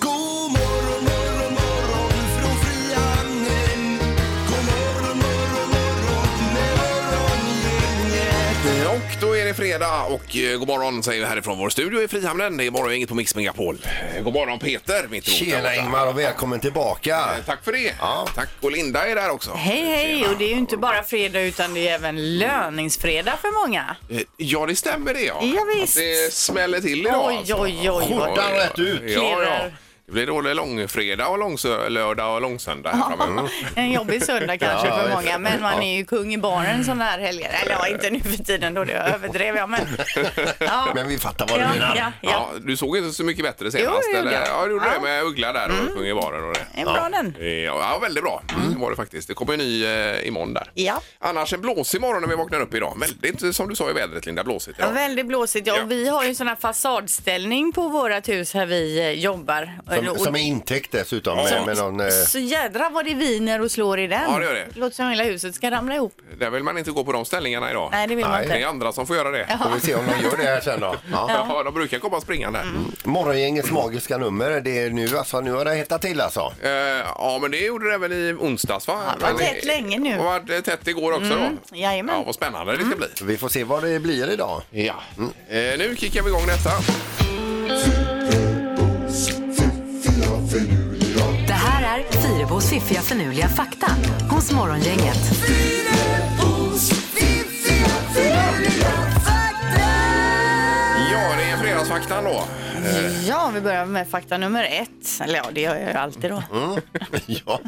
God morgon, morgon, morgon från Frihamnen. God morgon, morgon, morgon med morgongänget. Och då är det fredag och eh, god morgon säger vi härifrån vår studio i Frihamnen. Det är morgon, inget på Mix Megapol. Eh, God morgon Peter, mitt emot där Tjena borta. Ingmar och välkommen tillbaka. Eh, Tack för det. Ja. Tack. Och Linda är där också. Hej hej! Och det är ju inte bara fredag utan det är även löningsfredag för många. Eh, Ja, det stämmer det ja. Ja, visst. Att Det smäller till idag Oj, alltså. oj, oj, oj. Skjortan rätt ut. Ja, ja. Klirrar. Det blir då långfredag och långlördag och långsöndag här framöver. En jobbig söndag kanske Ja, för visst. många men man är ju kung i baren sådana här helger. Eller ja, inte nu för tiden då, det överdrev jag men. Ja. Men vi fattar vad du ja, menar. ja, Ja, ja. du såg inte så mycket bättre senast? Jo, det gjorde eller? jag. Ja, du gjorde Ja. Mm. det med Uggla där och sjöng i baren och det. Är bra den? Eh, Ja, väldigt bra Det var det faktiskt. Det kommer en ny eh, imorgon där. Mm. Ja. Annars en blåsig morgon när vi vaknar upp idag. Väldigt, som du sa i vädret Linda, blåsigt Ja, idag. väldigt blåsigt. Ja, Ja. och vi har ju sån här fasadställning på vårt hus här vi eh, jobbar. Som, Och- som är intäckt dessutom med, som- med någon... eh, Så jädra vad det viner och slår i den. Ja, det gör det. låter som hela huset ska ramla ihop. Där vill man inte gå på de ställningarna idag. Nej, det vill man Nej. Det är inte. andra som får göra det. Får vi se om de gör det här sen då. Ja. Ja, de brukar komma springande. Mm. Morgongängets magiska nummer, det är nu alltså, nu har det hettat till alltså. Eh, ja, men det gjorde det även i onsdags va? Ja, det Men- var tätt länge nu. Mm. Det var tätt igår också då. jajamän. Mm. Ja, vad spännande det ska bli. Vi får se vad det blir idag. Ja. Eh, nu kickar vi igång detta. Det här är Fyrabos fiffiga förnuliga fakta hos Morgongänget. Fyrabos Ja, det är fredagsfaktan då. Ja, vi börjar med fakta nummer ett. Eller ja, det gör jag ju alltid då. Ja.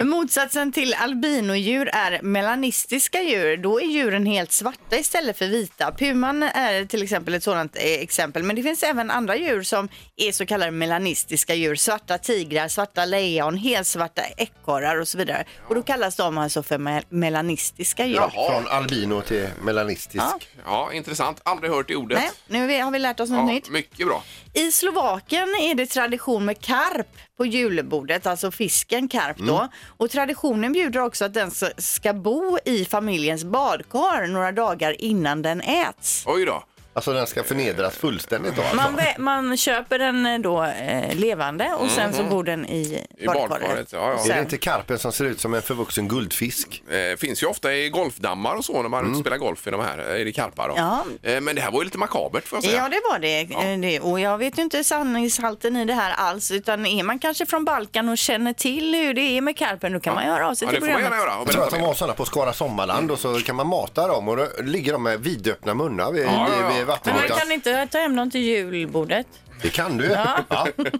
Motsatsen till albinodjur är melanistiska djur. Då är djuren helt svarta istället för vita. Puman är till exempel ett sådant eh, exempel. Men det finns även andra djur som är så kallade melanistiska djur. Svarta tigrar, svarta lejon, helsvarta ekorrar och så vidare. Och då kallas de alltså för me- melanistiska djur. Från albino till melanistisk. Ja. Ja, intressant. Aldrig hört det ordet. Nej, nu har vi lärt oss något ja, nytt. mycket bra. I Slovakien är det tradition med karp på julbordet, alltså fisken karp då. Mm. Och traditionen bjuder också att den s- ska bo i familjens badkar några dagar innan den äts. Oj då. Alltså den ska förnedras fullständigt då alltså. Man, vä- man köper den eh, då eh, levande och sen så bor den i Mhm. I badkaret. badkaret, ja, ja. Och Är det sen- inte karpen som ser ut som en förvuxen guldfisk? Eh, finns ju ofta i golfdammar och så när man är ute och spelar golf i de här, i det karpar. Då. Ja. Eh, men det här var ju lite makabert får jag säga. Ja, det var det. Eh, det. Och jag vet ju inte sanningshalten i det här alls, utan är man kanske från Balkan och känner till hur det är med karpen, då kan man höra av sig Ja, till det får man programmet. gärna göra. Och Jag tror att berätta de mer. har sådana på Skara Sommarland och så kan man mata dem och då ligger de med vidöppna munnar vid, ja, ja. vid Men man vattenytan. kan inte ta hem dem till julbordet. Det kan du. Ja.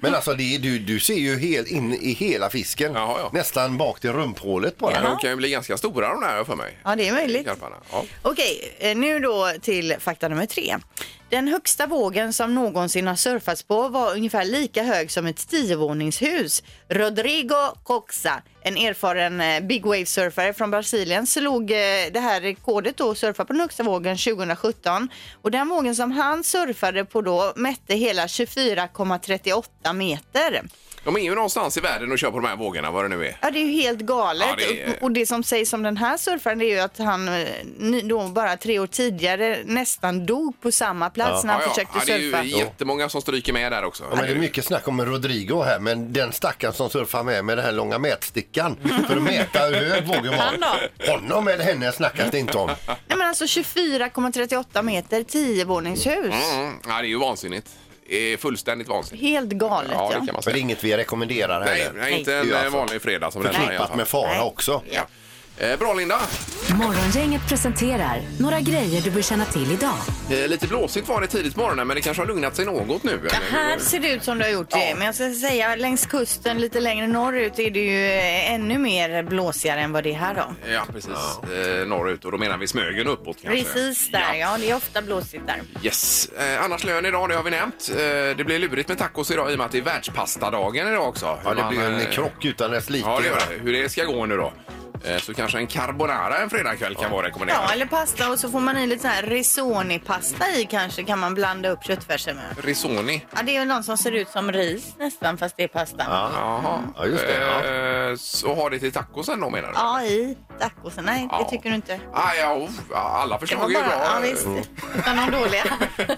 Men alltså det, är- du, du ser ju helt in i hela fisken. Jaha, ja. Nästan bak till rumphålet på den. De kan ju bli ganska stora de där för mig. Ja, det är möjligt. Karparna. Ja. Okej, eh, nu då till fakta nummer tre. Den högsta vågen som någonsin har surfats på var ungefär lika hög som ett tiovåningshus. Rodrigo Coxa, en erfaren eh, big wave surfare från Brasilien, slog eh, det här rekordet då och surfade på den högsta vågen 2017. Och den vågen som han surfade på då mätte hela 24,38 meter. De är ju någonstans i världen och kör på de här vågorna, vad det nu är. Ja, det är ju helt galet. Ja, det är- Och det som sägs om den här surfaren det är ju att han eh, ny- då bara tre år tidigare nästan dog på samma plats när han försökte ja, det surfa. är ju jättemånga som stryker med där också. Ja, men det är mycket snack om Rodrigo här men den stackaren som surfar med med den här långa mätstickan för att mäta hur hög vågen Han var. då? Honom eller henne snackas det inte om. Nej, men alltså 24,38 meter, tiovåningshus. Mm, ja, det är ju vansinnigt. Det är fullständigt vansinnigt. Helt galet. Ja, det Ja, kan man Men det är säga. inget vi rekommenderar Nej, heller. nej, inte Det är en ju eh, alltså vanlig fredag som den här i alla Förknippat fall. med fara också. Ja. Eh, bra Linda! Morgongänget presenterar några grejer du bör känna till idag. Eh, lite blåsigt var det tidigt på morgonen men det kanske har lugnat sig något nu. eller? Här ser det ut som du har gjort det, men jag ska säga längs kusten lite längre norrut är det ju eh, ännu mer blåsigare än vad det är här då. Ja, precis. Eh, norrut och då menar vi Smögen uppåt kanske. Precis där, ja det är ofta blåsigt där. Yes. Eh, annars lön idag, det har vi nämnt. Eh, det blir lurigt med tacos idag i och med att det är världspastadagen idag också. Ja, det Man, blir en eh, krock utan dess like. Ja, det gör det. Hur det ska gå nu då. Eh, Så kanske en carbonara en fredagkväll kan vara rekommenderat. Ja, eller pasta och så får man i lite sån här risoni-pasta i kanske kan man blanda upp köttfärsen med. Risoni. Ja, det är ju någon som ser ut som ris nästan fast det är pasta. Ja, Jaha. Ja, just det, ja. Eh, Så har det till tacosen då menar du? i tacosen. Nej, Ja. det tycker du inte. Ah, ja, oh, ja, alla Det var förslag är ju bara, bra. ja visst, Mm. utan de dåliga.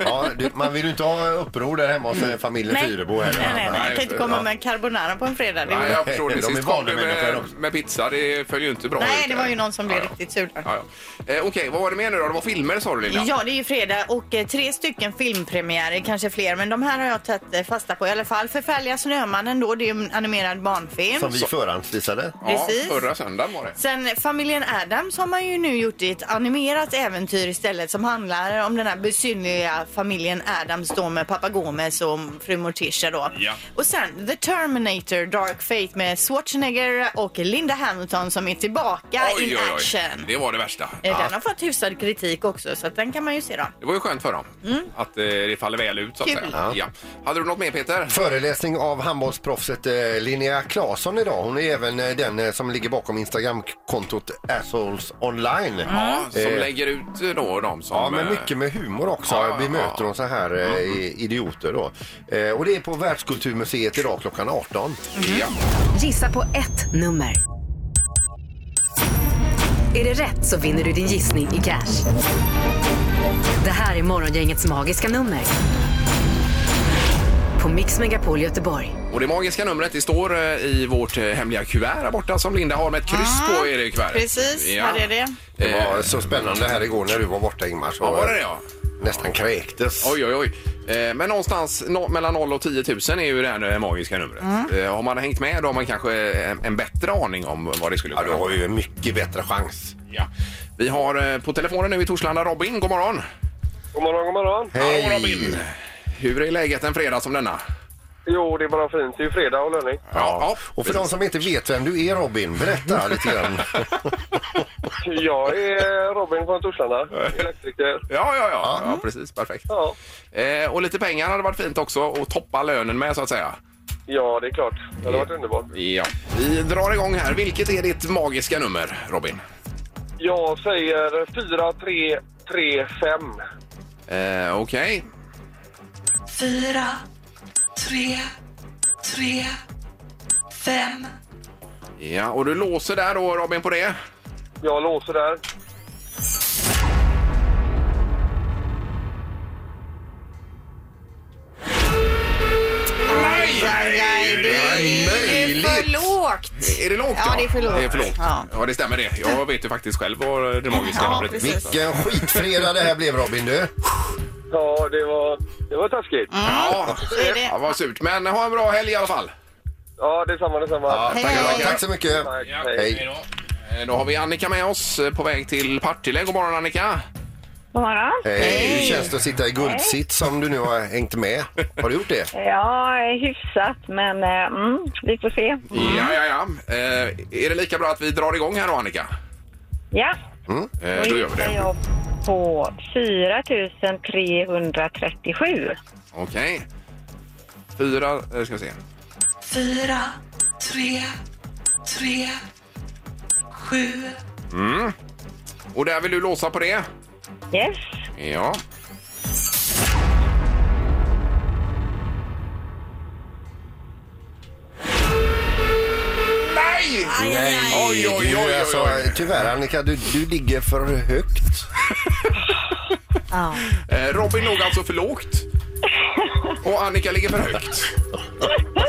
Ja, du, man vill ju inte ha uppror där hemma hos eh, familjen Nej. Fyrebo Nej, heller. nej, nej. Jag kan inte komma med carbonara på en fredag. Nej, Det var... jag förstår det. De är Sist kom du vanemänniskor med, också. med pizza. Det följer ju inte bra Nej, ut det där. var ju någon som blev Ja, ja. riktigt sur där. Ja, ja. Eh, Okej, vad var det mer nu då? Det var filmer sa du Linda? Ja, det är ju fredag och eh, tre stycken filmpremiärer, kanske fler, men de här har jag tagit eh, fasta på i alla fall. Förfärliga Snömannen då, det är ju en animerad barnfilm. Som vi förhandsvisade. Ja, precis. Förra söndagen var det. Sen familjen Adams har man ju nu gjort i ett animerat äventyr istället som handlar om den här besynnerliga familjen Adams då med pappa Gomez och fru Morticia då. Ja. Och sen The Terminator Dark Fate med Schwarzenegger och Linda Hamilton som är tillbaka in action. Det var det värsta. Eh, Ja. Den har fått hyfsad kritik också så att den kan man ju se då. Det var ju skönt för dem att eh, det faller väl ut så att Mm. Kul. Mm. säga. Ja. Hade du något mer Peter? Föreläsning av handbollsproffset eh, Linnea Claesson idag. Hon är även eh, den eh, som ligger bakom Instagramkontot Assholes Online. Mm. Ja, som Eh, lägger ut då de som... Ja, men eh, mycket med humor också. Ja, Mm. Vi ja, möter ja. de så här eh, idioter då. Eh, och det är på Världskulturmuseet idag klockan 18. Ja. Gissa på ett nummer. Är det rätt så vinner du din gissning i cash. Det här är Morgongängets magiska nummer. På Mix Megapol Göteborg. Och det magiska numret det står eh, i vårt eh, hemliga kuvert här borta som Linda har med ett kryss på i det kuvertet. Ah, Precis, Ja. här är det. Det var så spännande här igår när du var borta Ingmar. Så Eh. Ja, var det det, ja? Nästan kräktes. Oj, oj, oj. Eh, Men någonstans no, mellan 0 och 10 000 är ju det här eh, magiska numret. Mm. Eh, Har man hängt med då har man kanske eh, en, en bättre aning om vad det skulle Ja, kunna du har ju en mycket bättre chans. Ja. Vi har eh, på telefonen nu i Torslanda Robin, god morgon. God morgon, god morgon. Hallå, Robin. Hur är läget en fredag som denna? Jo, det är bara fint. Det är ju fredag och löning. ja. Och för de som inte vet vem du är Robin, berätta lite grann. Jag är eh, Robin från Torslanda, elektriker. Ja, ja, ja. ja precis. Perfekt. Ja. Eh, och lite pengar hade varit fint också och toppa lönen med så att säga. ja, det är klart. Det hade varit underbart. Ja. Vi drar igång här. Vilket är ditt magiska nummer, Robin? Jag säger 4, 3, 3, 5. Eh, Okej. fyra, tre, tre, fem. Ja, och du låser där då, Robin, på det? Jag låser där. Nej! Nej, det är för lågt. Är det lågt? Ja, det är för lågt. Det, är för lågt. Ja. Ja. det stämmer det. Jag vet ju faktiskt själv vad det magiska Ja, numret precis. Vilken skitfredag det här blev Robin du. Ja, det var, det var taskigt. Mm. Ja, är det. ja, vad surt. Men ha en bra helg i alla fall. Ja, detsamma, detsamma. Ja, Hej, tack, hej. tack så mycket. Tack, Ja, hej. Hej. Eh, Då har vi Annika med oss eh, på väg till Partille. God morgon Annika! God morgon. Hej. Hur känns det att sitta i guldsitt som du nu har hängt med? Har du gjort det? Ja, eh, hyfsat, men eh, mm, vi får se. Mm. Ja, ja, ja. Eh, är det lika bra att vi drar igång här då Annika? Ja, Eh, då då gör vi gissar det. jag på 4 337. Okej. Fyra, eh, ska vi se. Fyra, tre, tre, sju. Mm. Och där vill du låsa på det? Yes. Ja. Nej! Nej, Oj, oj, du, oj, oj, alltså, oj. Tyvärr Annika, du, du ligger för högt. Eh, Robin låg alltså för lågt och Annika ligger för högt.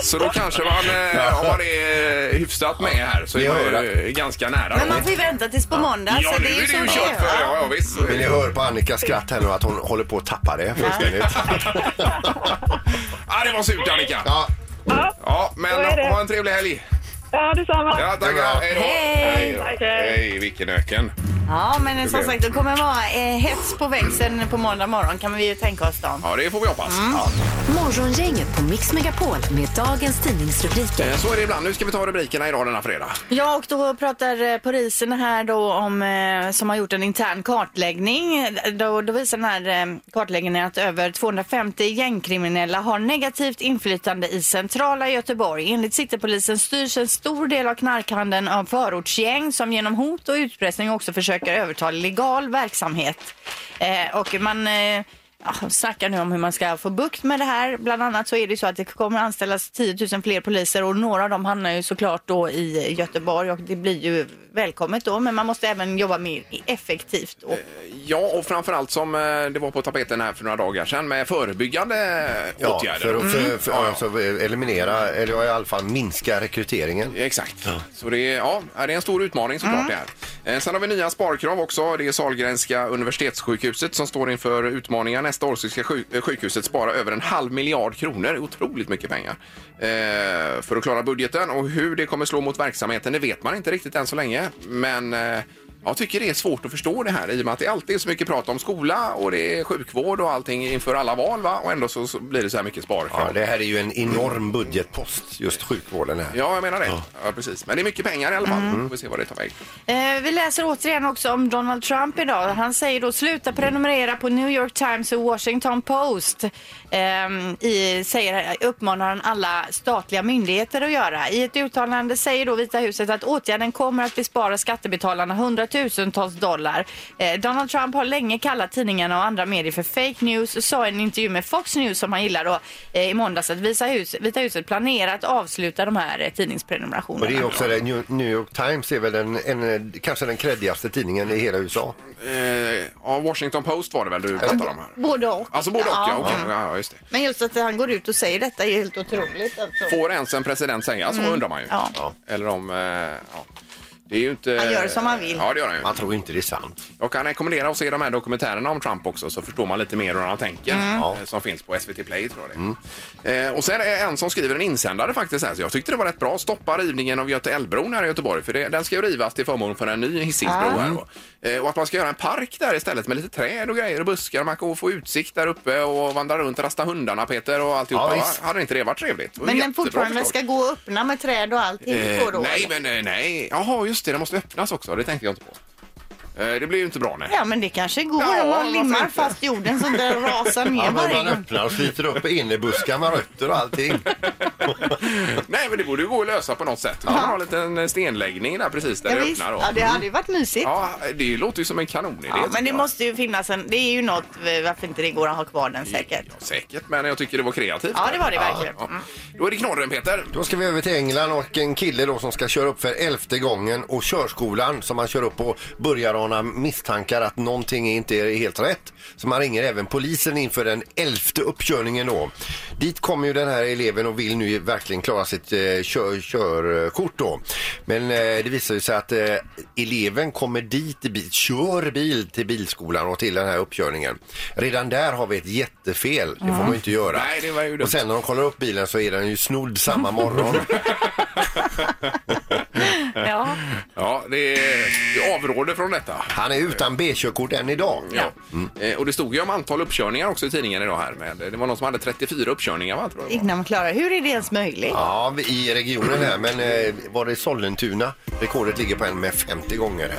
Så då kanske man, eh, om man är hyfsat med här, så är Ja, man ja. ju ganska nära. Men då. man får ju vänta tills på måndag. Ja, så nu det är ju så det kört är. för. Ja, ja, visst. Men ni hör på Annikas skratt här nu att hon håller på att tappa det fullständigt. Ah, det var surt, Annika. Ja, Ja, Ja, Så är det. men ha en trevlig helg. ja detsamma. Ja, tack. Det är bra. Hej då. Hej. då. Tack, hej. Hej, vilken öken. Ja, men Det som blev- sagt, det kommer vara eh, hets på växeln på måndag morgon kan vi ju tänka oss då. Ja, det får vi hoppas. Ja. Morgongänget på Mix Megapol med dagens tidningsrubriker. Eh, Så är det ibland. Nu ska vi ta rubrikerna idag denna fredag. Ja, och då pratar eh, polisen här då om, eh, som har gjort en intern kartläggning. Då, då visar den här eh, kartläggningen att över 250 gängkriminella har negativt inflytande i centrala Göteborg. Enligt Citypolisen styrs en stor del av knarkhandeln av förortsgäng som genom hot och utpressning också försöker överta legal verksamhet. Eh, och man... Eh, ja, snackar nu om hur man ska få bukt med det här. Bland annat så är det ju så att det kommer anställas 10 000 fler poliser och några av dem hamnar ju såklart då i Göteborg och det blir ju välkommet då men man måste även jobba mer effektivt. Då. Ja, och framförallt som eh, det var på tapeten här för några dagar sedan med förebyggande ja, Ja, åtgärder. för att för, för, alltså, eliminera, eller i alla fall minska rekryteringen. Exakt. Så det är, ja, det är en stor utmaning såklart det här. Eh, Sen har vi nya sparkrav också. Det är Sahlgrenska universitetssjukhuset som står inför utmaningar. Nästa år så ska sju- eh, sjukhuset spara över en halv miljard kronor. Otroligt mycket pengar. Eh, för att klara budgeten och hur det kommer slå mot verksamheten det vet man inte riktigt än så länge. Men eh, jag tycker det är svårt att förstå det här i och med att det alltid är så mycket prat om skola och det är sjukvård och allting inför alla val va? och ändå så, så blir det så här mycket sparkrav. Ja, det här är ju en enorm budgetpost, just sjukvården här. Ja, jag menar det. Ja. precis. Men det är mycket pengar i alla fall. Får vi se vad det tar vägen. Eh, vi läser återigen också om Donald Trump idag. Han säger då sluta prenumerera på New York Times och Washington Post. Ehm, i, säger, uppmanar han alla statliga myndigheter att göra. I ett uttalande säger då Vita huset att åtgärden kommer att bespara skattebetalarna hundratusentals dollar. Eh, Donald Trump har länge kallat tidningarna och andra medier för fake news och sa i en intervju med Fox News som han gillar då eh, i måndags att Visa hus, Vita huset planerar att avsluta de här eh, tidningsprenumerationerna. Och det är också det, New- New York Times är väl den, en, kanske den kreddigaste tidningen i hela USA. Eh, ja, Washington Post var det väl du pratade om här? Både och. Alltså både och, ja. Ja. okej. ja, just det. Men just att han går ut och säger detta är helt otroligt. Alltså. Får ens en president säga så Mm. undrar man ju. Ja. Eller om... Eh, ja. Det är ju inte... Han gör som han vill. Ja, det gör han ju. Man tror inte det är sant. Jag kan rekommendera att se de här dokumentärerna om Trump också så förstår man lite mer hur han tänker. Mm. eh, Som finns på SVT Play tror jag det är. eh, Och sen är det en som skriver en insändare faktiskt här. Så jag tyckte det var rätt bra. Stoppa rivningen av Göta älvbron här i Göteborg. För det, den ska ju rivas till förmån för en ny Hisingsbro här då. Eh, Och att man ska göra en park där istället med lite träd och grejer och buskar. Man kan få utsikt där uppe och vandra runt, rasta hundarna Peter och alltihopa. Ja, Ja, visst. Hade inte det varit trevligt? Men den Jättebra fortfarande förslag. ska gå och öppna med träd och allting på då? Eh, nej, eller? men eh, nej. Jaha, just det. Den måste öppnas också. Det tänkte jag inte på. Eh, det blir ju inte bra, nej. Ja men det kanske går Ja, om man varför limmar inte? fast jorden så den rasar ner Ja, men varje man gång. öppnar och sliter upp innerbuskar med rötter och allting. Nej, men det borde ju gå att lösa på något sätt. Man har en liten eh, stenläggning där precis där Ja, det visst. öppnar. Då. ja, det hade ju varit mysigt. Ja, Ja, det låter ju som en kanonidé. men det tycker jag. måste ju finnas en, det är ju något eh, varför inte det går att ha kvar den säkert. Säkert, men jag tycker det var kreativt. Ja det var det verkligen. Ja. Mm. Då är det knorren, Peter. Då ska vi över till England och en kille då som ska köra upp för elfte gången och körskolan som han kör upp på börjar ana misstankar att någonting inte är helt rätt. Så man ringer även polisen inför den elfte uppkörningen då. Dit kommer ju den här eleven och vill nu verkligen klara sitt eh, kör, körkort då. Men eh, det visar ju sig att eh, eleven kommer dit i bil, kör bil till bilskolan och till den här uppkörningen. Redan där har vi ett jättefel. Det får man ju inte göra. Nej, det var ju dumt. Och sen när de kollar upp bilen så är den ju snodd samma morgon. Ja. Ja, det är, jag avråder från detta. Han är utan B-körkort än idag. Ja. Eh, Och det stod ju om antal uppkörningar också i tidningen idag här. Med. Det var någon som hade 34 uppkörningar, va? Tror jag det var. Innan man klarar, hur är det ens möjligt? Ja, vi- i regionen här, men eh, var det Sollentuna? Rekordet ligger på en med 50 gånger.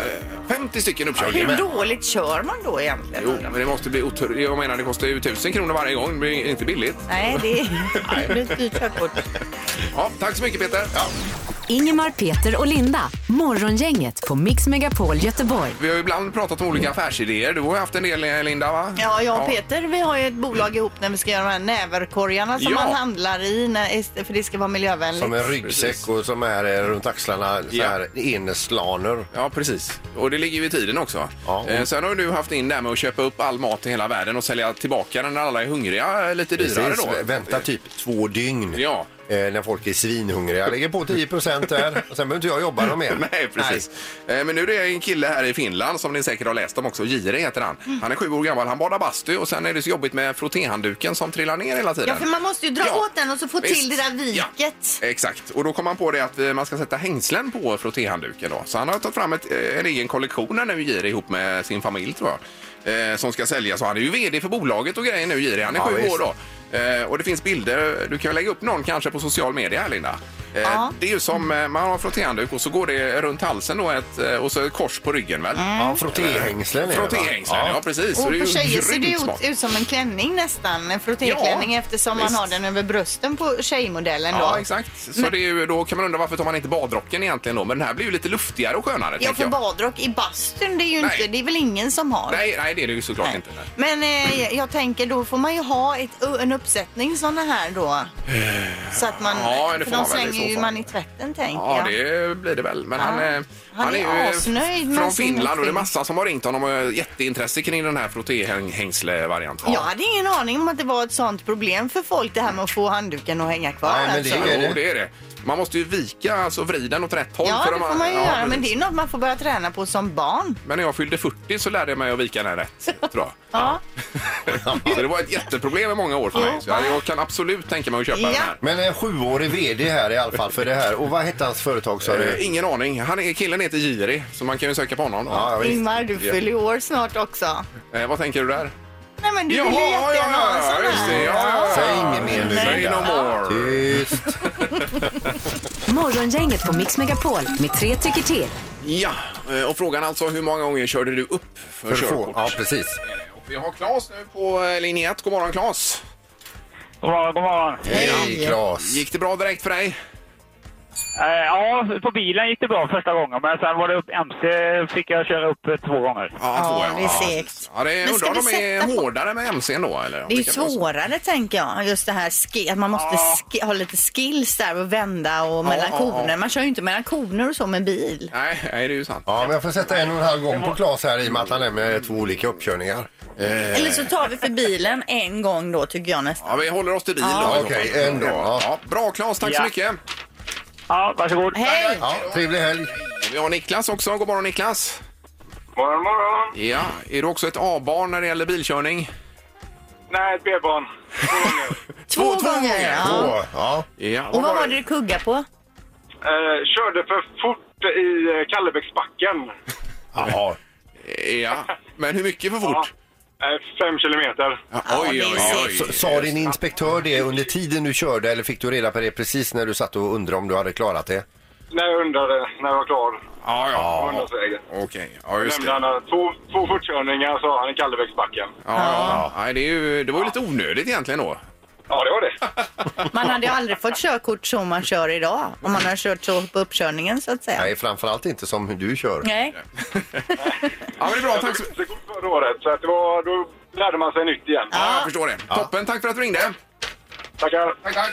här. 50 stycken uppkörningar. Hur dåligt kör man då egentligen? Jo, men det måste bli otur... Jag menar, det kostar ju 1000 kronor varje gång. Det blir inte billigt. Nej, det är, det är ett dyrt körkort. Ja, tack så mycket, Peter. Ingemar, Peter och Linda. Morgongänget på Mix Megapol Göteborg. Vi har ju ibland pratat om olika affärsidéer. Du har ju haft en del, eh, Linda, va? Ja, jag och Peter vi har ju ett bolag ihop när vi ska göra de här näverkorgarna som Ja. man handlar i när, för det ska vara miljövänligt. Som en ryggsäck och som är eh, runt axlarna så Ja. här eneslaner. Ja, precis. Och det ligger ju i tiden också. Ja, och- Eh, Sen har ju du haft in det här med att köpa upp all mat i hela världen och sälja tillbaka den när alla är hungriga eh, lite dyrare Precis, då. Vänta typ två dygn. Ja, eh, när folk är svinhungriga. Jag lägger på 10 procent där. Och sen behöver inte jag jobba något mer. Nej, precis. Eh, Men nu är det en kille här i Finland som ni säkert har läst om också. Jire heter han. Mm. Han är sju år gammal, han badar bastu och sen är det så jobbigt med frottéhandduken som trillar ner hela tiden. Ja, för man måste ju dra Ja, åt den och så få visst. till det där viket. Exakt, och då kom han på det att eh, man ska sätta hängslen på frottéhandduken då. Så han har tagit fram ett, eh, en egen kollektion här nu Jiri ihop med sin familj tror jag. Eh, som ska säljas och han är ju VD för bolaget och grejer nu Jiri. Han är Ja, sju visst. år då. Eh, och det finns bilder, du kan ju lägga upp någon kanske på social media här Linda. Eh, Ja. Det är ju som, eh, man har frottéhandduk och så går det runt halsen då ett, eh, och så ett kors på ryggen väl? Ja, Mm. frottéhängslen är det, va? Frottéhängslen, ja. precis. Och Så det är ju på tjejer ser det grymt ut, smart. ut som en klänning nästan, en frottéklänning Ja, eftersom man visst. har den över brösten på tjejmodellen då. Ja, exakt. Så det är ju, då kan man undra varför tar man inte badrocken egentligen då? Men den här blir ju lite luftigare och skönare. Ja, tänker för jag. badrock i bastun, det är ju Nej. inte, det är väl ingen som har. Nej, nej, det är det ju såklart inte. Nej. Men eh, jag tänker då får man ju ha ett, en uppsättning sådana här då. Så att man, Eh, Ja, det för får de man väl i så slänger ju fall. man i tvätten tänker Ja, jag. det blir det väl. Men han, eh, han, Han är ju, eh, asnöjd med från sin Finland och det är film. massa som har ringt honom och är jätteintresse kring den här frottéhängsle-varianten. Jag hade ingen aning om att det var ett sånt problem för folk det här med att få handduken att hänga kvar. Nej, men det alltså. är Jo, det är det. Man måste ju vika, alltså vrida den åt rätt håll. Ja, för det de- får man ju ja, göra, precis. men det är något man får börja träna på som barn. Men när jag fyllde 40 så lärde jag mig att vika den här rätt, tror jag. Ja. så det var ett jätteproblem i många år för mig. Så jag, jag kan absolut tänka mig att köpa Ja. den här. Men en sjuårig VD här i alla fall för det här. Och vad hette hans företag sa Eh, du? Ingen aning. Han är, killen heter Jiri, så man kan ju söka på honom. då. Ja, visst. Ingmar, du Ja. fyller ju år snart också. Eh, vad tänker du där? Nej, men du Jaha, vill ju ja, jättegärna ha ja, en ja, sån just det. här. Ja, ja, ja. Säg inget mer nu, Say Linda. no more. Tyst. Morgongänget på Mix Megapol med tre tycker till. Ja, eh, och frågan alltså hur många gånger körde du upp för, För att få- körkort? Ja, precis. Eh, och Vi har Claes nu på eh, linje 1. God morgon Claes! God morgon, god morgon. Hej, Claes. Gick det bra direkt för dig? Eh, ja, på bilen gick det bra första gången, men sen var det upp MC fick jag köra upp eh, två gånger. Ja, två, det är segt. Ja, det Men undrar ska om vi de är sätta på- hårdare med MC'n då? Eller? om Det är ju kan vara så. svårare tänker jag, just det här ski- att man måste ski- ha lite skills där och vända och mellan ja, koner. ja. Man kör ju inte mellan koner och så med bil. Nej, nej, det är ju sant. Ja, men jag får sätta en och en halv gång på Claes här i och med att han lämnar två olika uppkörningar. Eh, Eller så tar vi för bilen en gång då tycker jag nästan. Ja, vi håller oss till bil då. i så Okej, fall. ändå, ja. Ja, bra Claes, tack så Ja. mycket. Ja, varsågod. Hej! Ja, trevlig helg. Vi har Niklas också. God morgon Niklas! Morgon, morgon. Ja, är du också ett A-barn när det gäller bilkörning? Nej, ett B-barn. Två, två gånger! gånger. Ja. Åh, ja. Ja, Och vad var det du kuggade på? Eh, körde för fort i eh, Kallebäcksbacken. Jaha. Ja, men hur mycket för fort? Eh, fem kilometer. Ja. det är S- Sa din inspektör det under tiden du körde eller fick du reda på det precis när du satt och undrade om du hade klarat det? När jag undrade när jag var klar. Ja, ja. Hundrasvägen. Okej, ja just det. Nämnde han Ja, att eh, två, två fortkörningar sa han i Kallebäcksbacken. ja. Nej, det, är ju, det var ju lite onödigt egentligen då. Ja, det var det. Man hade ju aldrig fått körkort som man kör idag om man har kört så på uppkörningen så att säga. Nej, framförallt inte som hur du kör. Nej. Ja, men det är bra. Tack Jag så tog körkort förra året, så att det var, då lärde man sig nytt igen. Ja, jag förstår det. Toppen, tack för att du ringde. Tackar. Tack, tack.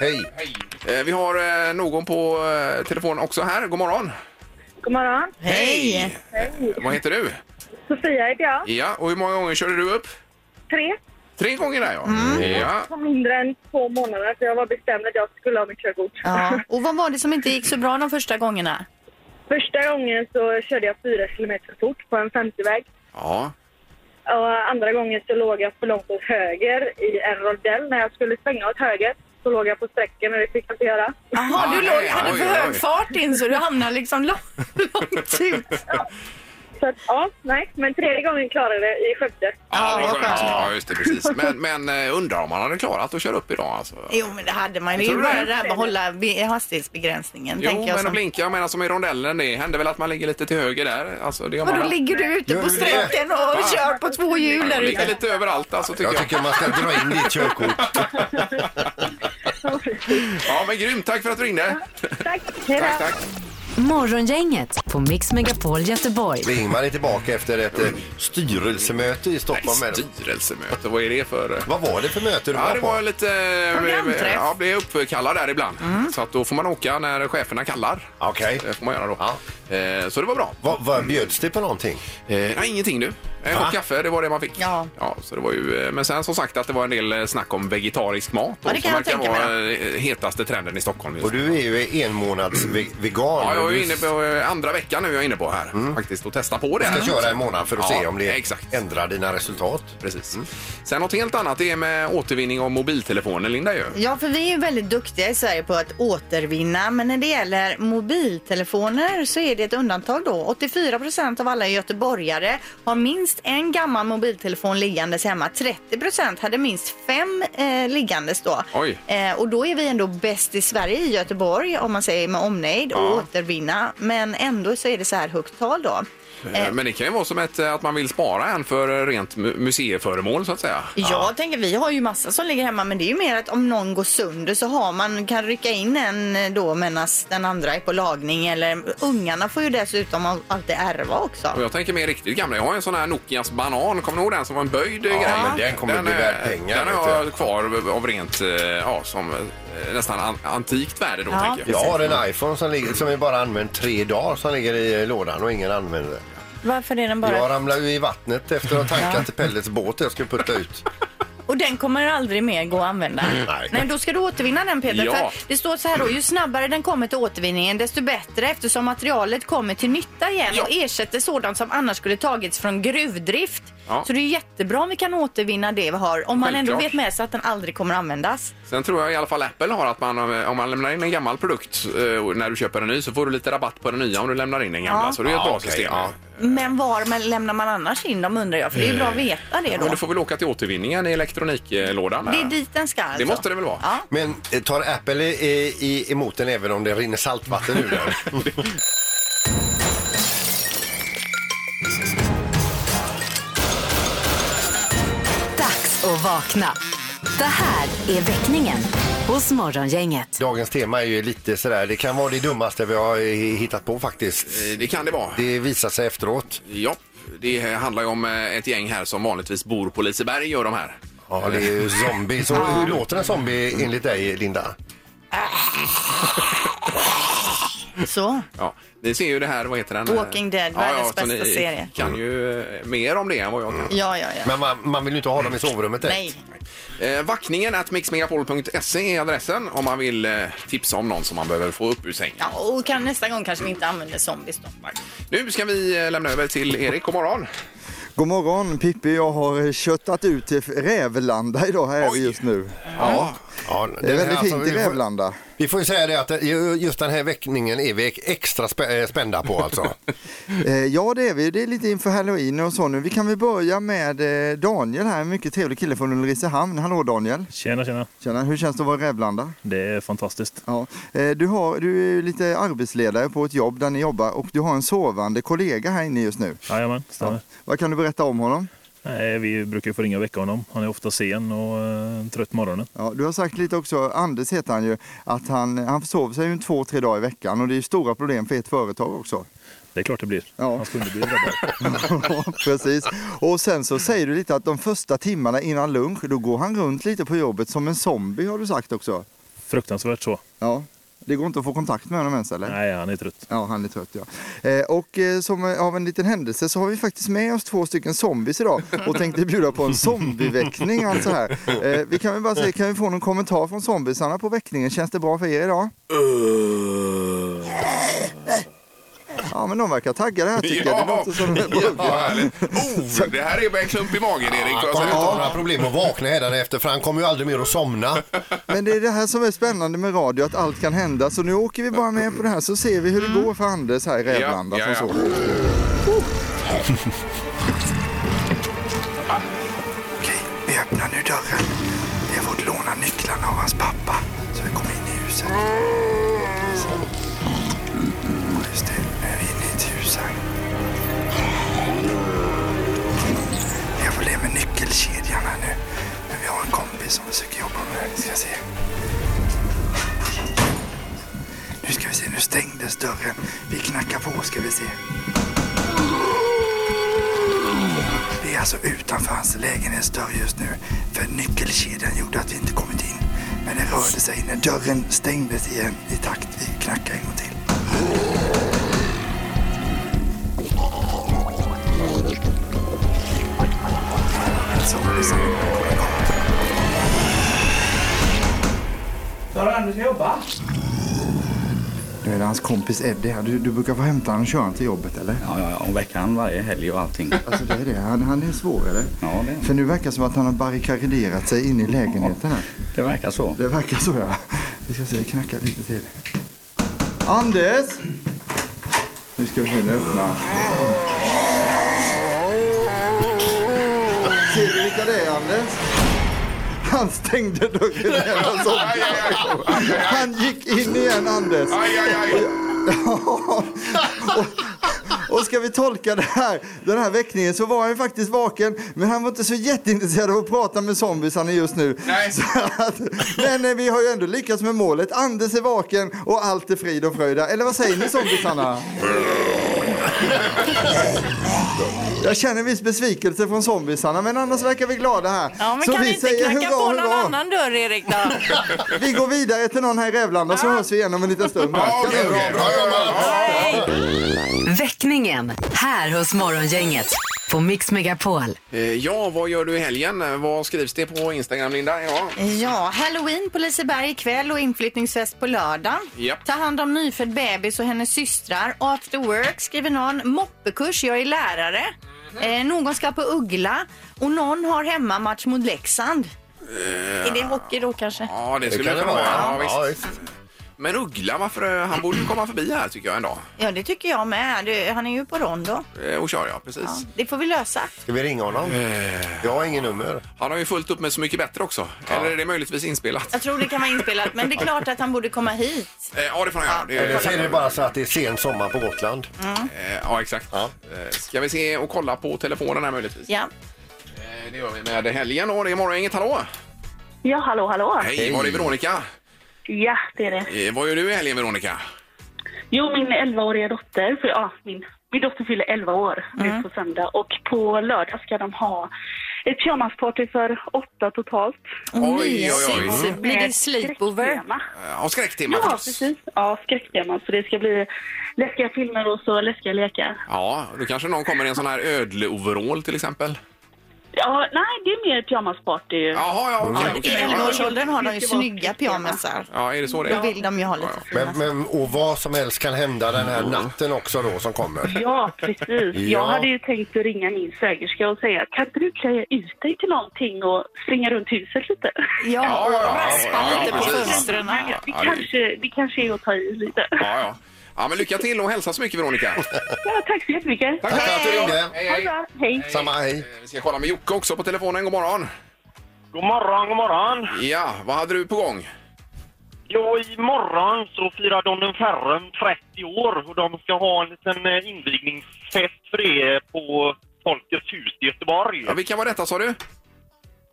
Hej. Hej. Eh, Vi har eh, någon på eh, telefon också här. God morgon. God morgon. Hej! Eh, Vad heter du? Sofia heter jag. Ja, och hur många gånger körde du upp? Tre. Tre gånger där ja. Mm. Ja. På mindre än två månader, för jag var bestämd att jag skulle ha mitt körkort. Ja. Och vad var det som inte gick så bra de första gångerna? Första gången så körde jag fyra kilometer fort på en 50-väg. ja. Och andra gången så låg jag för långt åt höger i en rondell. När jag skulle svänga åt höger så låg jag på sträcken och det fick jag inte göra. Jaha, du låg, hade Oj, för oj, oj. hög fart in så du hamnade liksom lång- långt ut. Så att, ja, nej. Men tredje gången klarade jag det i Skövde. Ja, vad vad skönt. skönt. Ja, just det. Precis. Men, men eh, undrar om man hade klarat att köra upp idag alltså. Jo, men det hade man. Det är Tror ju du det? bara det här med att hålla be- hastighetsbegränsningen. Jo, tänker jag men att som... blinka, jag menar som i rondellen, det händer väl att man ligger lite till höger där. Alltså, det gör man Vadå, väl. ligger du ute Gör på du det? sträckan och kör på två hjul där Man ligger ute? lite överallt alltså tycker Jag jag. tycker man ska dra in ditt körkort. Ja, men grymt. Tack för att du ringde. Tack. Hej då. Tack, tack. Morgongänget på Mix Megapol Göteborg. Ingmar är tillbaka efter ett eh, styrelsemöte i Stockholm. Nej, styrelsemöte, vad är det för... eh? Vad var det för möte du Ja, var det på? var lite... eh, Programträff. Ja, blev uppkallad där ibland. Mm. Så att då får man åka när cheferna kallar. Okej. Det får man göra då. Ja. Eh, Så det var bra. Vad, vad bjöds det på någonting? Eh, Nej, ingenting du. En kopp kaffe, det var det man fick. Ja. så det var ju, eh, men sen som sagt att det var en del eh, snack om vegetarisk mat. Ja, det och kan som jag tänka vara eh, hetaste trenden i Stockholm just Och du är ju en månads vegan. Ja, jag är ju inne på eh, andra veckan nu är jag inne på här faktiskt och testa på det. Jag Mm. ska köra en månad för att Ja, se om det exakt. ändrar dina resultat. Precis. Mm. Sen något helt annat det är med återvinning av mobiltelefoner Linda ju. Ja, för vi är ju väldigt duktiga i Sverige på att återvinna. Men när det gäller mobiltelefoner så är det ett undantag då. 84 procent av alla göteborgare har minst en gammal mobiltelefon liggandes hemma. 30 procent hade minst fem eh, liggandes då. Oj. Eh, och då är vi ändå bäst i Sverige i Göteborg om man säger med omnejd och Ja. återvinna. Men ändå så är det så här högt tal då. Eh, Men det kan ju vara som ett, eh, att man vill spara en för eh, rent mu- museiföremål så att säga. Jag tänker, vi har ju massa som ligger hemma men det är ju mer att om någon går sönder så har man, kan rycka in en eh, då medan den andra är på lagning eller ungarna får ju dessutom all- alltid ärva också. Och jag tänker mer riktigt gamla. Jag har en sån här Nokias banan. Kommer ni ihåg den som var en böjd Ja, grej? men den kommer bli eh, värd pengar, Den vet har du. jag kvar av rent, eh, ja, som eh, nästan an antikt värde då, Ja, tänker Jag jag. har en iPhone som, ligger, som är bara använd tre dagar som ligger i eh, lådan och ingen använder den. Varför är den Jag bara... ramlade ju i vattnet efter att ha tankat till Pellets båt jag skulle putta ut. Och den kommer aldrig mer gå att använda. Nej. Nej, då ska du återvinna den Peter. Ja. För det står så här då, ju snabbare den kommer till återvinningen desto bättre eftersom materialet kommer till nytta igen och ersätter sådant som annars skulle tagits från gruvdrift. Ja. Så det är jättebra om vi kan återvinna det vi har om man ändå Självklart. vet med sig att den aldrig kommer användas. Sen tror jag i alla fall Apple har att man, eh, om man lämnar in en gammal produkt eh, och när du köper en ny så får du lite rabatt på den nya om du lämnar in den gamla. Ja. Så det är ett Ja, bra okej, system. ja. Men var man, lämnar man annars in dem undrar jag för det är ju bra att veta det då. Men du får väl åka till återvinningen i elektroniklådan. Det är där. dit den ska alltså. Det måste det väl vara? Ja. Men eh, tar Apple i, i, emot den även om det rinner saltvatten ur den? Dags att vakna. Det här är väckningen hos Morgongänget. Dagens tema är ju lite sådär, det kan vara det dummaste vi har eh, hittat på faktiskt. Eh, Det kan det vara. Det visar sig efteråt. Ja, det handlar ju om eh, ett gäng här som vanligtvis bor på Liseberg gör de här. Ja, det är ju zombie. Så hur låter en zombie enligt dig, Linda? Så. Ja, ni ser ju det här, vad heter den? Walking Dead, världens så bästa ni serie. kan ju eh, mer om det än vad jag kan. Ja, ja, ja. Men man, man vill ju inte ha dem i sovrummet direkt. Nej. Eh, vackningen at mixmegapol.se är adressen om man vill eh, tipsa om någon som man behöver få upp ur sängen. Ja, och kan, nästa gång kanske vi inte använder zombies då. Nu ska vi eh, lämna över till Erik. God morgon! God morgon Pippi, jag har köttat ut till Rävlanda idag här är vi just nu. Ja. Ja, Det är den här, väldigt fint alltså, i vi får- Rävlanda. Vi får ju säga det att eh, ju- just den här väckningen är vi extra spä- eh, spända på alltså. Eh, Ja det är vi, det är lite inför halloween och så nu. Vi kan väl börja med eh, Daniel här, en mycket trevlig kille från Ulricehamn. Hallå Daniel! Tjena, tjena. Tjena, hur känns det att vara i Rävlanda? Det är fantastiskt. Ja. Eh, Du, har, du är ju lite arbetsledare på ett jobb där ni jobbar och du har en sovande kollega här inne just nu. Jajamän, stämmer. Vad kan du berätta om honom? Nej, vi brukar ju få ringa och väcka honom. Han är ofta sen och eh, trött på morgonen. Ja, du har sagt lite också, Anders heter han ju, att han, han försover sig ju en två, tre dagar i veckan och det är ju stora problem för ert företag också. Det är klart det blir. Ja. Hans kunder blir drabbade. Ja, Precis. Och sen så säger du lite att de första timmarna innan lunch, då går han runt lite på jobbet som en zombie har du sagt också. Fruktansvärt så. Ja. Det går inte att få kontakt med honom ens eller? Nej, han är trött. Ja, han är trött ja. Eh, Och eh, som eh, av en liten händelse så har vi faktiskt med oss två stycken zombies idag och tänkte bjuda på en zombieväckning alltså här. Eh, Vi kan väl bara säga, kan vi få någon kommentar från zombiesarna på väckningen? Känns det bra för er idag? Ja, men de verkar taggade här tycker jag. Det låter som de är på ja, hugget. härligt. oh, Det här är bara en klump i magen, Erik. får Han jag kommer säga. inte ha några problem att vakna hädanefter för han kommer ju aldrig mer att somna. Men det är det här som är spännande med radio, att allt kan hända. Så nu åker vi bara med på det här så ser vi hur det går för Anders här i Rävlanda. Ja, som ja, så. ja. Vi öppnar nu dörren. Vi har fått låna nycklarna av hans pappa så vi kommer in i huset. Så. Ja, Just det, nu är vi inne i ett hus här. Vi har problem med nyckelkedjan här nu. Men vi har en kompis som försöker jobba med det. Vi ska se. Nu ska vi se, nu stängdes dörren. Vi knackar på ska vi se. Vi är alltså utanför hans lägenhetsdörr just nu. För nyckelkedjan gjorde att vi inte kommit in. Men den rörde sig när dörren stängdes igen i takt. Vi knackar en gång till. Zombiesen. Var är du ska jobba? Nu är det hans kompis Eddie här. Du, du brukar få hämta honom och köra honom till jobbet eller? Ja, ja, ja. Och veckan varje helg och allting. Alltså det är det. Han, han är svårare. Ja, det, För nu verkar det som att han har barrikaderat sig inne i lägenheten här. det verkar så. Det verkar så ja. Vi ska se, vi knackar lite till. Anders! Nu ska vi se, nu öppnar Ser du vilka det är Anders? Han stängde dörren igen och så. Han gick in igen Anders. Och ska vi tolka det här, den här väckningen så var han ju faktiskt vaken men han var inte så jätteintresserad av att prata med zombiesarna just nu. Så att, men eh, vi har ju ändå lyckats med målet. Anders är vaken och allt är frid och fröjd. Eller vad säger ni zombiesarna? Jag känner en viss besvikelse från zombiesarna men annars verkar vi glada här. Ja, men kan vi inte knacka på någon annan dörr, Erik? Då? Vi går vidare till någon här i Rävlanda så hörs vi igen om en liten stund. Väckningen här hos Morgongänget på Mix Megapol. Eh, Ja, vad gör du i helgen? Eh, Vad skrivs det på Instagram, Linda? Ja. Ja, halloween på Liseberg ikväll och inflyttningsfest på lördag. Japp. Ta hand om nyfödd bebis och hennes systrar. After work skriver någon moppekurs, jag är lärare. Eh, någon ska på Uggla och någon har hemmamatch mot Leksand. Är det hockey då kanske? Ja, det skulle det kunna vara. Ja, visst. Men Uggla, varför? eh, Han borde ju komma förbi här tycker jag en dag. Ja, det tycker jag med. Det- Han är ju på rondo. Eh, Och kör ja, precis. Ja, det får vi lösa. Ska vi ringa honom? Eh. Jag har ingen nummer. Han har ju fullt upp med Så mycket bättre också. Eller är det möjligtvis inspelat? Jag tror det kan vara inspelat, men det är klart att han borde komma hit. Eh, Ja, det får han göra. Det- Eller så är det bara så att det är sen sommar på Gotland. Mm. Eh, Ja, exakt. Eh, Ska vi se och kolla på telefonen här möjligtvis? Ja. Eh, Det gör vi med helgen och det är morgon, inget hallå! Ja, hallå, hallå. Hej, var det Veronica? Ja, det är det. Eh, Vad gör du i helgen Veronica? Jo, min 11-åriga dotter, för, ja, min, min dotter fyller 11 år nu Mm. på söndag och på lördag ska de ha ett pyjamasparty för åtta totalt. Oj, oj, oj. Mm. mysigt. Blir det sleepover? Skräcktema. Ja, skräcktema Ja, förstås. precis. Ja, skräcktema. Så det ska bli läskiga filmer och så läskiga lekar. Ja, då kanske någon kommer i en sån här ödleoverall till exempel. Ja, nej, det är mer pyjamasparty. Jaha, ja, okej, okay, I 11-årsåldern har de ju snygga pyjamasar. Ja, är det så det Då vill de ju ha lite fina. Mm. Men, men, och vad som helst kan hända den här natten också då som kommer. Ja, precis. Ja. Jag hade ju tänkt att ringa min svägerska och säga kan inte du klä ut dig till någonting och springa runt huset lite? Ja, ja, ja, raspa ja, lite ja, på precis. fönstren. fönstren. Det, Ja, det- kanske, det kanske är att ta i lite. Ja, ja. Ja, men lycka till och hälsa så mycket Veronica. Ja, tack så jättemycket. Tack för att du ringde. Hej, Ha det bra. Hej. Samma, hej. Eh, Vi ska kolla med Jocke också på telefonen. God morgon. God morgon, god morgon. Ja, vad hade du på gång? Ja, imorgon så firar Donnen Ferrum 30 år och de ska ha en liten eh, invigningsfest för det på Folkets hus i Göteborg. Ja, vilka var detta sa du?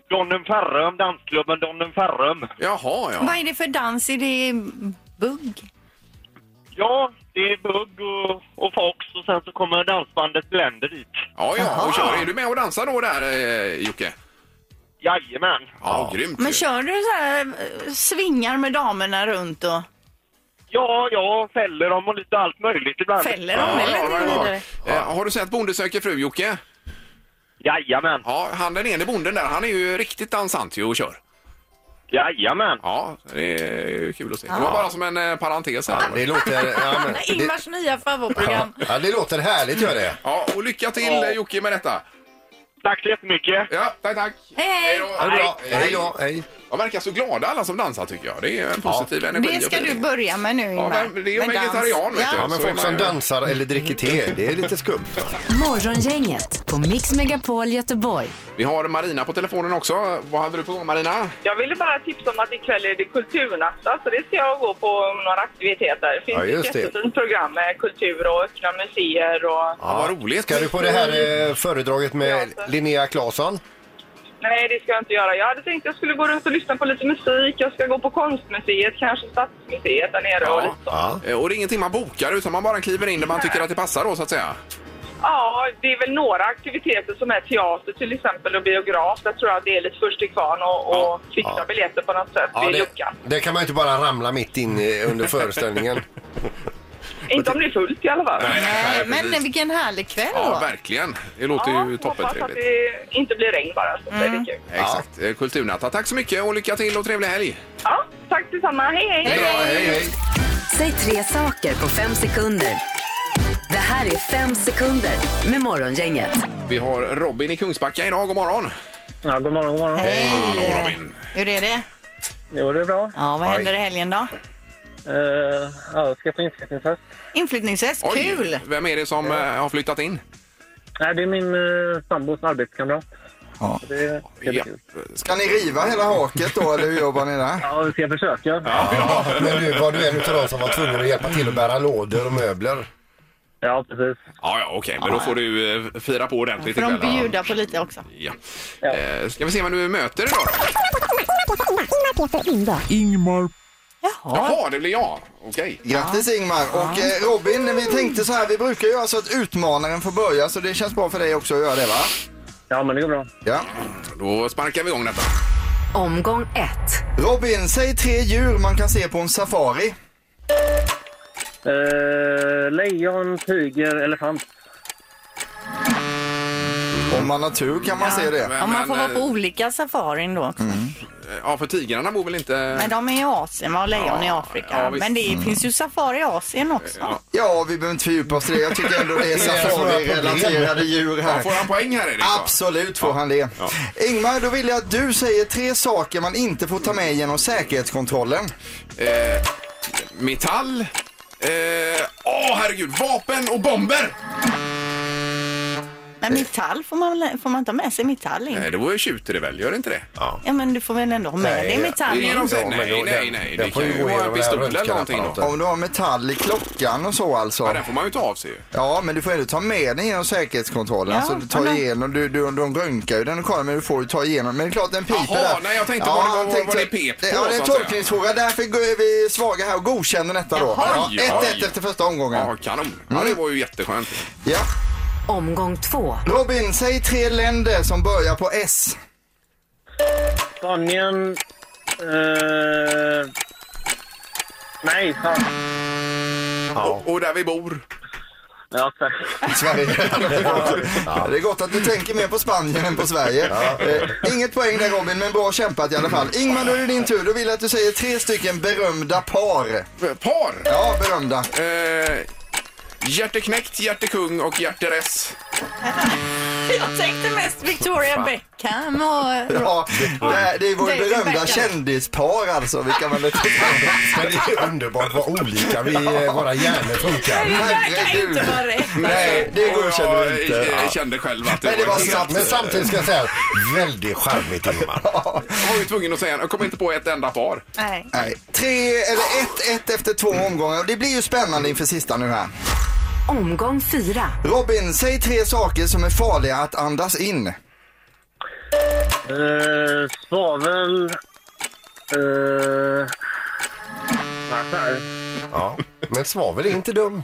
Donnen Ferrum, dansklubben Donnen Ferrum. Jaha, Vad är det för dans? Är det bugg? Ja, det är Bugg och, och Fox och sen så kommer dansbandet Blender dit. Ja, ja, och kör. Är du med och dansar då där, eh, Jocke? Jajamän. Ja, grymt. Men kör du så här eh, svingar med damerna runt och... Ja, ja, fäller dem och lite allt möjligt ibland. Fäller dem, Ja, eller? ja, ja, ja. Eller? Eh, har du sett Bonde söker fru, Jocke? Jajamän. Ja, han den ene bonden där, han är ju riktigt dansant ju och kör. Jajamän. Ja, det är ju kul att se. Det var bara som en eh, parentes här. det låter... Ja, men, det, Ingvars nya favoritprogram. ja, det låter härligt gör det. Ja, och lycka till eh, Jocke med detta. Tack så jättemycket. Ja, tack, tack. Hej, Ha det bra. Hej. Hej då, hej. De verkar så glada alla som dansar tycker jag. Det är en positiv energi. Det ska och du feeling. börja med nu, Ja, Ingmar. men det är ju Med dans. vegetarian vet du. Ja, men Så är folk man som ju- dansar eller dricker te, det är lite skumt. Morgongänget på Mix Megapol Göteborg. Vi har Marina på telefonen också. Vad hade du på gång Marina? Jag ville bara tipsa om att ikväll är det kulturnatta så det ska jag gå på några aktiviteter. Det finns Ja, just ett det. jättefint program med kultur och öppna museer och... Ja, vad roligt. Ska du på det här eh, föredraget med Linnea Claesson? Nej, det ska jag inte göra. Jag hade tänkt att jag skulle gå runt och lyssna på lite musik. Jag ska gå på konstmuseet, kanske stadsmuseet där nere. Och lite. Eh, Och det är ingenting man bokar utan man bara kliver in där man tycker att det passar då så att säga. Ja, det är väl några aktiviteter som är teater till exempel och biograf. Där tror jag att det är lite först till kvarn och, och fixa Ja. biljetter på något sätt. Ja, det är det, luckan. eh, det kan man ju inte bara ramla mitt in i under föreställningen. Inte om det är fullt i alla fall. Nej, Men precis. vilken härlig kväll Ja, då. verkligen. Det låter ju Hoppas att toppentrevligt. det inte blir regn bara. Så blir Mm. det kul. Exakt. Eh, Kulturnatta. Tack så mycket och lycka till och trevlig helg. Ja, tack detsamma. Hej, hej! Säg tre saker på fem sekunder. Det här är fem sekunder med Morgongänget. Vi har Robin i Kungsbacka idag. God morgon! Ja, god morgon, god morgon. Hej! Hur är det? Jo, det är bra. Ja, vad händer i helgen då? Uh, ja, jag ska på inflyttningsfest. Inflyttningsfest, Oj, kul! Vem är det som eh, har flyttat in? Nej, det är min uh, sambos arbetskamrat. Ja. Det är Ja. Ska ni riva hela haket då eller hur jobbar ni där? Ja, vi ska försöka. Ja, men du var du en av de som var tvungen att hjälpa till att bära lådor och möbler. Ja, precis. Ja, ja, okej, men då får du eh, fira på ordentligt För de ikväll, ja. bjuder på lite också. Ja. Eh, Ska vi se vem du möter idag då? Ingmar. Jaha, det blir jag. Okej. Grattis Ingmar! Och eh, Robin, vi tänkte så här, vi brukar göra så att utmanaren får börja så det känns bra för dig också att göra det va? Ja, men det går bra. Ja. Då sparkar vi igång detta. Omgång ett. Robin, säg tre djur man kan se på en safari. Eh, lejon, tiger, elefant. Om man har tur kan man se det. Men- Om man får men, vara på eh, Mm. olika safarin då. Ja, för tigrarna bor väl inte... Men de är i Asien va? och lejon i Afrika. ja, visst. Men det Mm. finns ju safari i Asien också. Ja, vi behöver inte fördjupa oss i det. Jag tycker ändå det är Det är svåra safari-relaterade problem. djur här. Ja, får han poäng här, Erik, då? Absolut får han det. Ingmar, då vill jag att du säger tre saker man inte får ta med genom säkerhetskontrollen. Eh, metall. Åh, eh, åh, herregud. Vapen och bomber! Men metall, får man, får man ta med sig metall in? Nej, det vore ju tjuter det väl? Gör det inte det? Ja. Ja men du får väl ändå ha med dig metall det är in? de säger, Ja, men nej, då- nej, den- nej. den Det får kan ju gå ju vara en igenom pistol den här eller någonting då. Om du har metall i klockan och så alltså. Ja, den får man ju inte av sig ju. Ja, men du får ändå ta med den genom säkerhetskontrollen. Ja, alltså, du tar men- igenom, du, du, de röntgar ju den och kollar, men du får ju ta igenom. Men det är klart, den piper Jaha, där. nej, jag tänkte vad det var- jag vad det pep på, Ja, det är en så att säga. tolkningsfråga. Därför är vi svaga här och godkänner detta då. Jaha. Ja, 1-1 Oj, oj. efter första omgången. Mm. Ja, kanon. Ja, det var ju jätteskönt. Ja. Omgång två. Robin, säg tre länder som börjar på S. Spanien... eh, nej, fan. Och, och där vi bor. Ja, tack. Sverige. Det är gott att du tänker mer på Spanien än på Sverige. Eh, inget poäng där Robin, men bra kämpat i alla fall. Ingmar, då är det din tur. Då vill jag att du säger tre stycken berömda par. eh, Par? Ja, berömda. Eh, hjärteknäckt, hjärtekung och hjärteress. Jag tänkte mest Victoria Fan. Beckham och... Ja, det, det är vårt David berömda Beckham. kändispar alltså. Vilka man är Men det är underbart vad olika vi, eh, våra hjärnor funkar. Det verkar inte vara rätt. eh, Nej, det godkänner vi inte. Jag eh, kände själv att det, Men, det var Alltså, helt- snabbt. Men samtidigt ska jag säga, väldigt charmigt Ingmar. Jag var ju tvungen att säga, jag kom inte på ett enda par. Nej. Nej, tre eller ett, ett efter två omgångar. Det blir ju spännande inför sista nu här. Omgång fyra. Robin, säg tre saker som är farliga att andas in. Eh, svavel... eh, Massor. Ja, men svavel är inte dumt.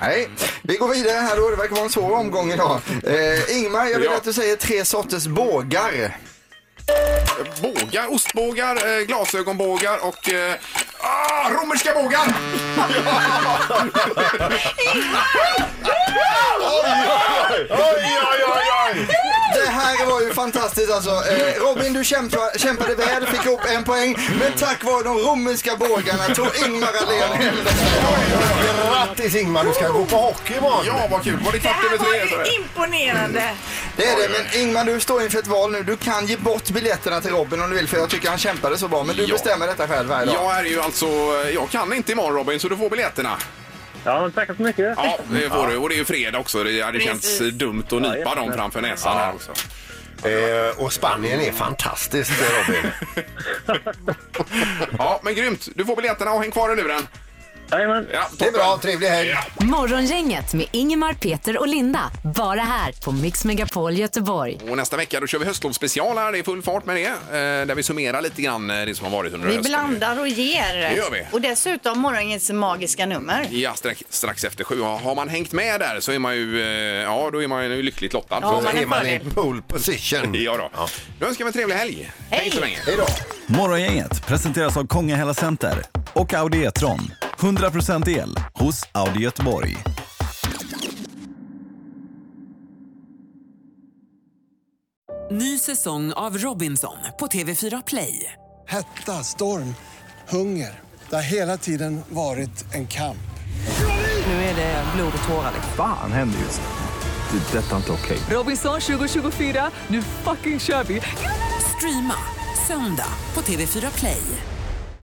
Nej, vi går vidare här då. Det verkar vara en svår omgång idag. Eh, Ingmar, jag vill Ja. att du säger tre sorters bågar. Bågar, ostbågar, eh, glasögonbågar och eh, ah, romerska bågar! Det här var ju fantastiskt alltså. Eh, Robin, du kämpa, kämpade väl, fick upp en poäng. Men tack vare de romerska bågarna tog Ingmar allén hem den här gången. Grattis Ingmar, du ska gå på hockey imorgon. Ja, vad kul. Var det Det kvart här över tre? var sådär? ju imponerande. Det är det, men Ingmar du står inför ett val nu. Du kan ge bort biljetterna till Robin om du vill för jag tycker han kämpade så bra. Men du Ja. bestämmer detta själv varje dag. Jag är ju alltså, jag kan inte imorgon Robin, så du får biljetterna. Ja, men tack så mycket. Ja, det får du. Och det är ju fredag också. Det hade Precis. känts dumt att nypa Ja, dem framför näsan här också. Eh, och Spanien är fantastiskt Robin. Ja, men grymt. Du får biljetterna och häng kvar i luren. Jajamän. Ja, Det är bra, trevlig helg. Morgongänget med Ingemar, Peter och Linda. Bara här på Mix Megapol Göteborg. Och nästa vecka då kör vi höstlovsspecial här. Det är full fart med det. Eh, där vi summerar lite grann eh, det som har varit under Vi hösten. blandar och ger. Det gör vi. Och dessutom morgonens magiska nummer. Ja, strax, strax efter sju. Har har man hängt med där så är man ju, eh, ja, då är man ju lyckligt lottad. Ja, Så man är är man fördel. i pole position. ja, då. Nu önskar vi en trevlig helg. Hej! Hej så länge. Morgongänget presenteras av Kongahälla Center och Audi E-tron. 100% el hos Audi Göteborg. Ny säsong av Robinson på TV4 Play. Hetta, storm, hunger. Det har hela tiden varit en kamp. Nu är det blod och tårar. Fan händer just det. Det är detta inte okej. Robinson 2024, nu fucking kör vi! Streama söndag på TV4 Play.